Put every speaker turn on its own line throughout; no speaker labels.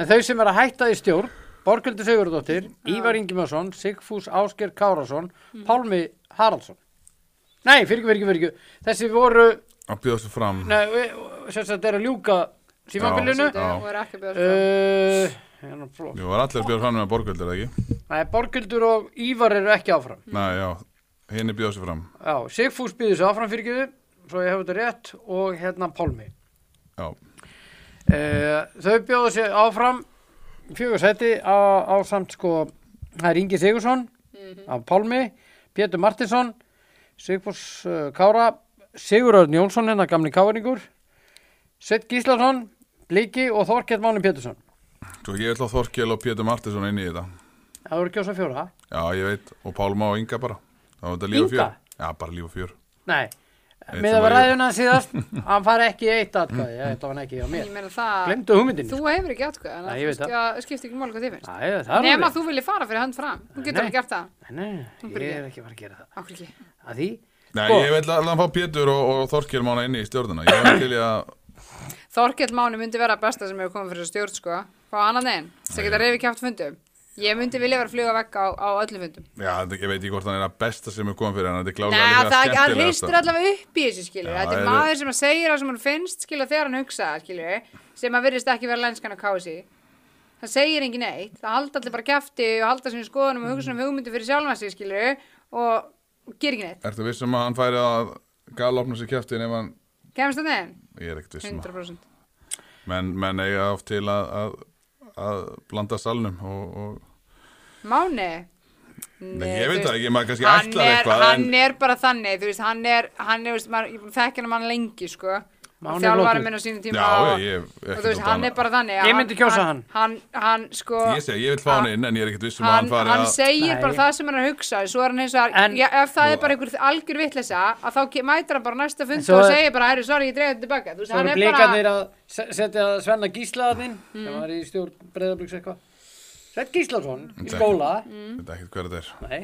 En þau sem er að hætta í stjórn, Borgildur Sigurðardóttir, Ívar Ingimarsson, Sigfús Ásker Kárasson, Pálmi Haraldsson. Nei, fyrir ekki, fyrir ekki, fyrir ekki. Þessi voru,
að bjóða sig fram
nei, við- sem sagt er að ljúka símanbílinu.
Já.
og er ekki að bjóða sig
Uh, hérna, fló-
Jú, var allir að bjóða fram með borgöldur, eða ekki?
nei, Borgildur og Ívar eru ekki áfram.
Mm.
Nei, já, henni bjóða sig fram
Já, Sigfús býður sig áfram fyrir ekki, svo ég hef þetta rétt, og hérna Pálmi.
Já,
Uh, þau bjóðu sér áfram fjögur seti á, á samt sko, það er Ingi Sigursson
Mhm.
af Pálmi, Pétur Martinsson Sigfús uh, Kára Sigurörn Jónsson hennar gamli káringur Sveit Gíslason Bliki og Þorkett Máni Pétursson
svo ég ætla að Þorkel og Pétur Martinsson inn í þetta
það voru kjósa fjóra,
Já, ég veit, og Pálma og Inga bara Það var þetta líf og
Inga?
fjör Já, bara líf og fjör
nei
Eitt
með að
sem var ég.
ræðuna síðast, hann fari ekki í eitt atkvæði, ja, þetta var hann ekki hjá
ég
mér
meina það
glemdu hugmyndinni
þú
sko.
hefur ekki átkvæða
Nei, ég veit
þannig að það skiptir ekki mál hvað þið finnst
Æ, það er
nema
alveg-
þú vilji fara fyrir hönd fram þú getur
Nei.
ekki gert það
Nei,
Þú
ég
byrjar.
er ekki að fara að gera það
okkur ekki
að því,
Nei,
Sko.
ég ætla alveg að fá Pétur og, og Þorkel mána inn í stjórnuna Ég var til í að,
Þorkell Máni myndi vera besta sem hefur komið fyrir stjórn sko hvað annan einn sem geta reyfi kjátt fundum ég myndi vilja vera að fluga vekk á, á öllum fundum
já, þetta- ég veit ekki hvort hann er að besta sem er komið fyrir hann Þetta er klálega
Nei,
líka
það er hann
skemmtilegasta.
hristur allavega upp í þessu skilur
sko. Já,
þetta er
eru-
maður sem að segja það sem hann finnst skilur þegar hann hugsaðar skilur sem að virðist ekki vera lenskan að kási það segir engin neitt, það halda allir bara kæfti og halda sinni skoðunum og
Mm.
hugsunum hugmyndu fyrir sjálfan sig skilur og og gerir ekki neitt,
Ertu vissum að hann færi að galopna sér kjæftin ef hann,
kemst það neðin
ég er ekkert vissum að
100%
menn, menn eiga oft til að, að, að blanda salnum og, og
Máni
Nei,
Nei,
ég veit
þú
það
veist,
ekki, maður kannski
hann
ætlar
er,
eitthvað
hann
en,
er bara þannig þú veist, hann er, hann er, þú veist, maður, ég þekkja hann mann lengi sko
Máni er
þjálfari
flottur.
minn á sínum
Já,
tíma
já,
og,
ég er
og
ekkert
þú veist,
út
hann
annað.
er bara þannig að
Ég myndi kjósa hann.
hann, hann, sko
Ég segi, ég vil fá hann inn en ég er ekkert vissum að
hann,
hann fari
hann
að
segir
Nei.
bara það sem hann er að hugsa svo er hann eins og að,
En-
já, ef það er bara einhver algjör vitleysa að þá ke- mætir hann bara næsta fund
svo
og
er-
segir bara, herru, sorry, ég dreigði þetta tilbaka þú veist,
Það
hann
eru
er bara,
blikarnir að se- setja Svenna Gíslaðinn mm. sem var í stjórn breyðabliks eitthvað Sveit Gíslaðsson í
Þetta er
skóla
Mm.
Þetta er ekkert hver þetta er
Nei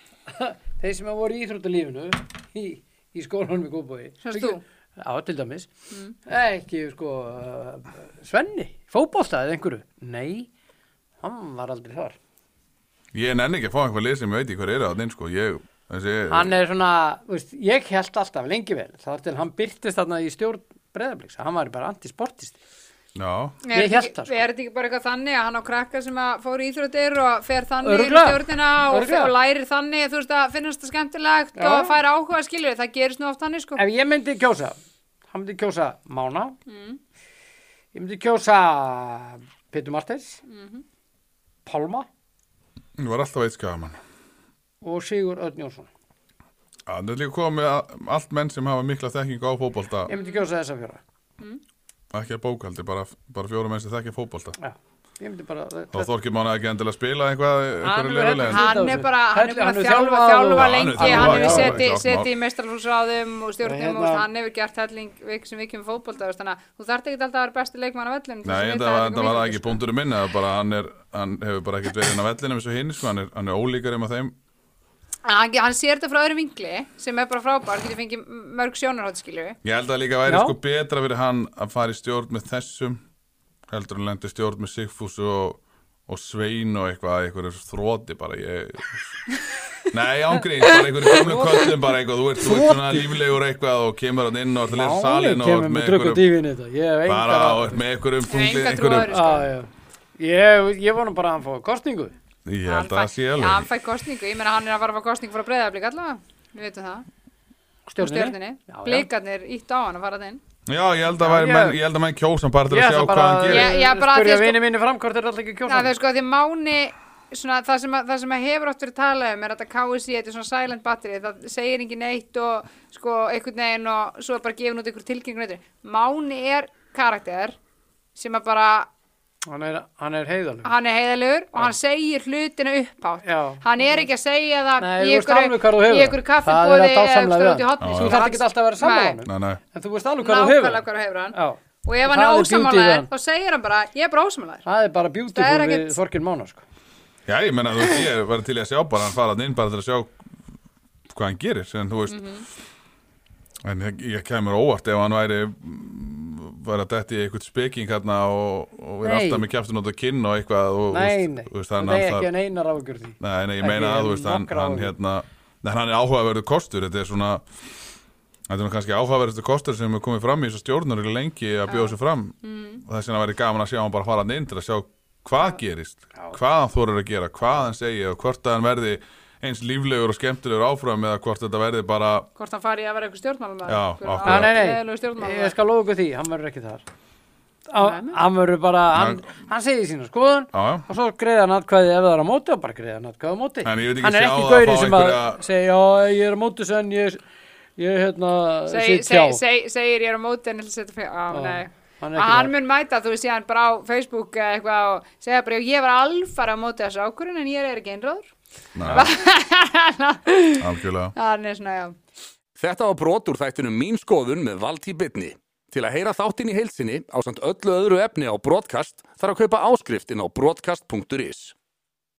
Þeir sem að voru í íþróttalífinu í, í skólanum í Góðbói
Sem sagt þú? Mm.
Já, til dæmis Ekki sko uh, Svenni, fótboltaðið einhverju Nei, hann var aldrei þar
Ég nenni ekki að fá einhver lið sem ég veit ekki hver er að hann sko Ég, þessi,
Hann er svona, þú veist, ég held alltaf lengi vel þar til hann byrtist þarna í stjórn breyðabliks hann var bara antisportist
já
er
Ég
þetta
hélt
ekki-
það, sko.
er þetta ekki bara eitthvað þannig að hann á krakka sem að fór í íþróttir og fer þannig
Örugglega.
í stjórnina og,
Örugglega.
og lærir þannig, þú veist, að finnast það skemmtilegt
Já.
og fær áhuga, skilur það gerist nú oft þannig, sko
Ef ég myndi kjósa, hann myndi kjósa Mána,
Mm.
ég myndi kjósa Pétur Martins,
Mhm.
Pálma
Nú var alltaf eitt skaman
og Sigur Örn Jónsson.
Það er líka komið að allt menn sem hafa mikla þekkingu á fótbolta
Ég myndi kjósa þessa fjóra.
ekki að bókaldi, bara, bara fjóra menn sem þekkja fótbolta
Já, ég myndi bara...
Þá þorkir manna ekki endilega að spila eitthvað,
Hann
eitthvað
er-
lefulegin
hann-
hann er bara, hann
Hellu-
er bara
hann
að
er
þjálfa,
þjálfaður og-
Já,
þjálfa
hann er
lengi hann
þjálfaður,
hefur
já,
setið
já,
seti
já.
í meistarflúsráðum og stjórnum
Hérna-
og hann hefur gert helling vik sem við kemum fótbolta þú veist, þannig að þú þarft ekki alltaf að vera besti leikmann á vellum
Nei, þetta var,
sko,
þetta var ekki punkturinn minn eða bara hann, er, hann hefur bara ekkert verið inn á vellinum eins og hinn, sko, hann er, hann er ólíkar um að þeim
hann, hann sér þetta frá öðru vinkli sem er bara frábær, getur fengið mörg sjónarhótt skilu
Ég held að líka væri
Já.
sko betra fyrir hann að fara í stjórn með þessum heldur hann lendi í stjórn með Sigfús og, og Svein og eitthvað eitthvað þróti bara ég... Nei, ángríns, bara einhverju gömlu köllum bara eitthvað, þú ert, þú ert svona líflegur eitthvað og kemur hann inn og ert að lesa salin og
kemur
ert
með
með
drukk og
einhverjum
dífin þetta. Ég hef engar
bara og
áhyggjur.
ert með einhverjum þungli,
enga
einhverjum
trúaður
Já, já. Ég, ég vonum bara að hann fóði kostningu.
Ég held að það sé
Já, hann
alveg
fæ kostningu, ég meina hann er að fara að fá kostningu frá breyðaflik allavega, við veitum það Úr stjórninni,
Já, já.
blikarnir ítt á hann að fara það inn
Já, ég held að væri
Já, ég-
menn, ég held að menn kjósan bara til
Ég
að sjá
ætla
hvað
bara
hann
að
gerir
Já, já, bara að
spyrja
því sko-
vini minni fram hvort er alltaf ekki
Já, það
kjósa.
er sko að því Máni svona, það, sem að, það sem að hefur oft verið talað um er að þetta KSI, þetta er svona silent battery það segir engin neitt og sko einhvern veginn og svo er bara gefin út einhver tilkynning og eitthvað. Máni er karakter sem að bara
Hann er, hann er heiðalug.
hann er heiðalegur og hann segir hlutina upphátt
Já.
hann er ekki að segja það
Nei,
í
þú veist
einhverju-
alveg hvar þú hefur
í
það. Það
einhverju
er
kaffibóði
að dásamlega við hann.
hotni,
Já,
sko.
Þú þarf ekki alltaf að vera
Nei.
saman honum.
Nei, nei
En þú veist alveg
nákvæmlega
hvað þú hefur.
hvað þú hefur hann
Já.
og ef
Og það
hann er
er beauty við
ósamlæður
hann.
þá segir hann bara, ég er bara ósamlæður
Það er bara
Það er
beautiful við
ekkert-
Þorkinn Mána sko.
Já, ég menna, þú veist, ég var til í að sjá bara hann fara hann inn bara til að sjá hvað hann
Mhm.
gerir, en þú veist en ég, ég kemur óvart ef hann væri mm, var að detti eitthvað speking hérna og, og vera
Nei.
alltaf með kjæftin út að kynna og eitthvað og,
Nei,
þú
nei,
veist- þú veist,
það
hann,
er
hann,
ekki
það,
að neinar ágjur því
nei, nei,
ekki
ég
um
meina að þú veist hann,
nokkra
hann
áhyggjur.
hérna, nei, hann er áhugaverður kostur þetta er svona þetta er nú kannski áhugaverður kostur sem er komið fram í þessu stjórnur lengi að bjóða sér fram
Mm.
og þess vegna væri gaman að sjá hann bara fara hann inn til að sjá hvað gerist, hvað hann þorir að gera hvað hann segja og hvort að hann verði eins líflegur og skemmtilegur áfram eða hvort þetta verði bara
hvort hann fari að vera eitthvað stjórnmálum
Já, akkurat.
Já, Ah, nei,
leðilegu
nei, ég
stjórnmálum
skal lofa ykkur því, hann verður ekki þar Á-
Nei, nei.
Hann verður bara, hann,
Nei.
hann segir sína skoðun
Já, já.
og svo greiða hann atkvæði ef það er á móti og bara greiða hann atkvæði á móti
En ég veit ekki
Hann er
sjá
ekki
það að
gaurið
fá
sem að
einhverja-
segja, já, ég er á móti sen, ég, ég hérna,
Seg-
sit
seg-
hjá."
seg- segir ég er á móti en ætla að setja fyrir á,
Já,
nei
hann er
hann,
ekki
hann
þar.
mun mæta þú veist ég hann bara á Facebook eða eitthvað og segja bara "Já, ég var alfara á móti þessu ákvörun en ég er ekki einráður
Nei, algjörlega
hann er svona já
Þetta var brot úr þættunum Mín skoðun með Valtí Bitni. Til að heyra þáttin í heilsinni á samt öllu öðru efni á brotkast þarf að kaupa áskrift inn á brotkast.is.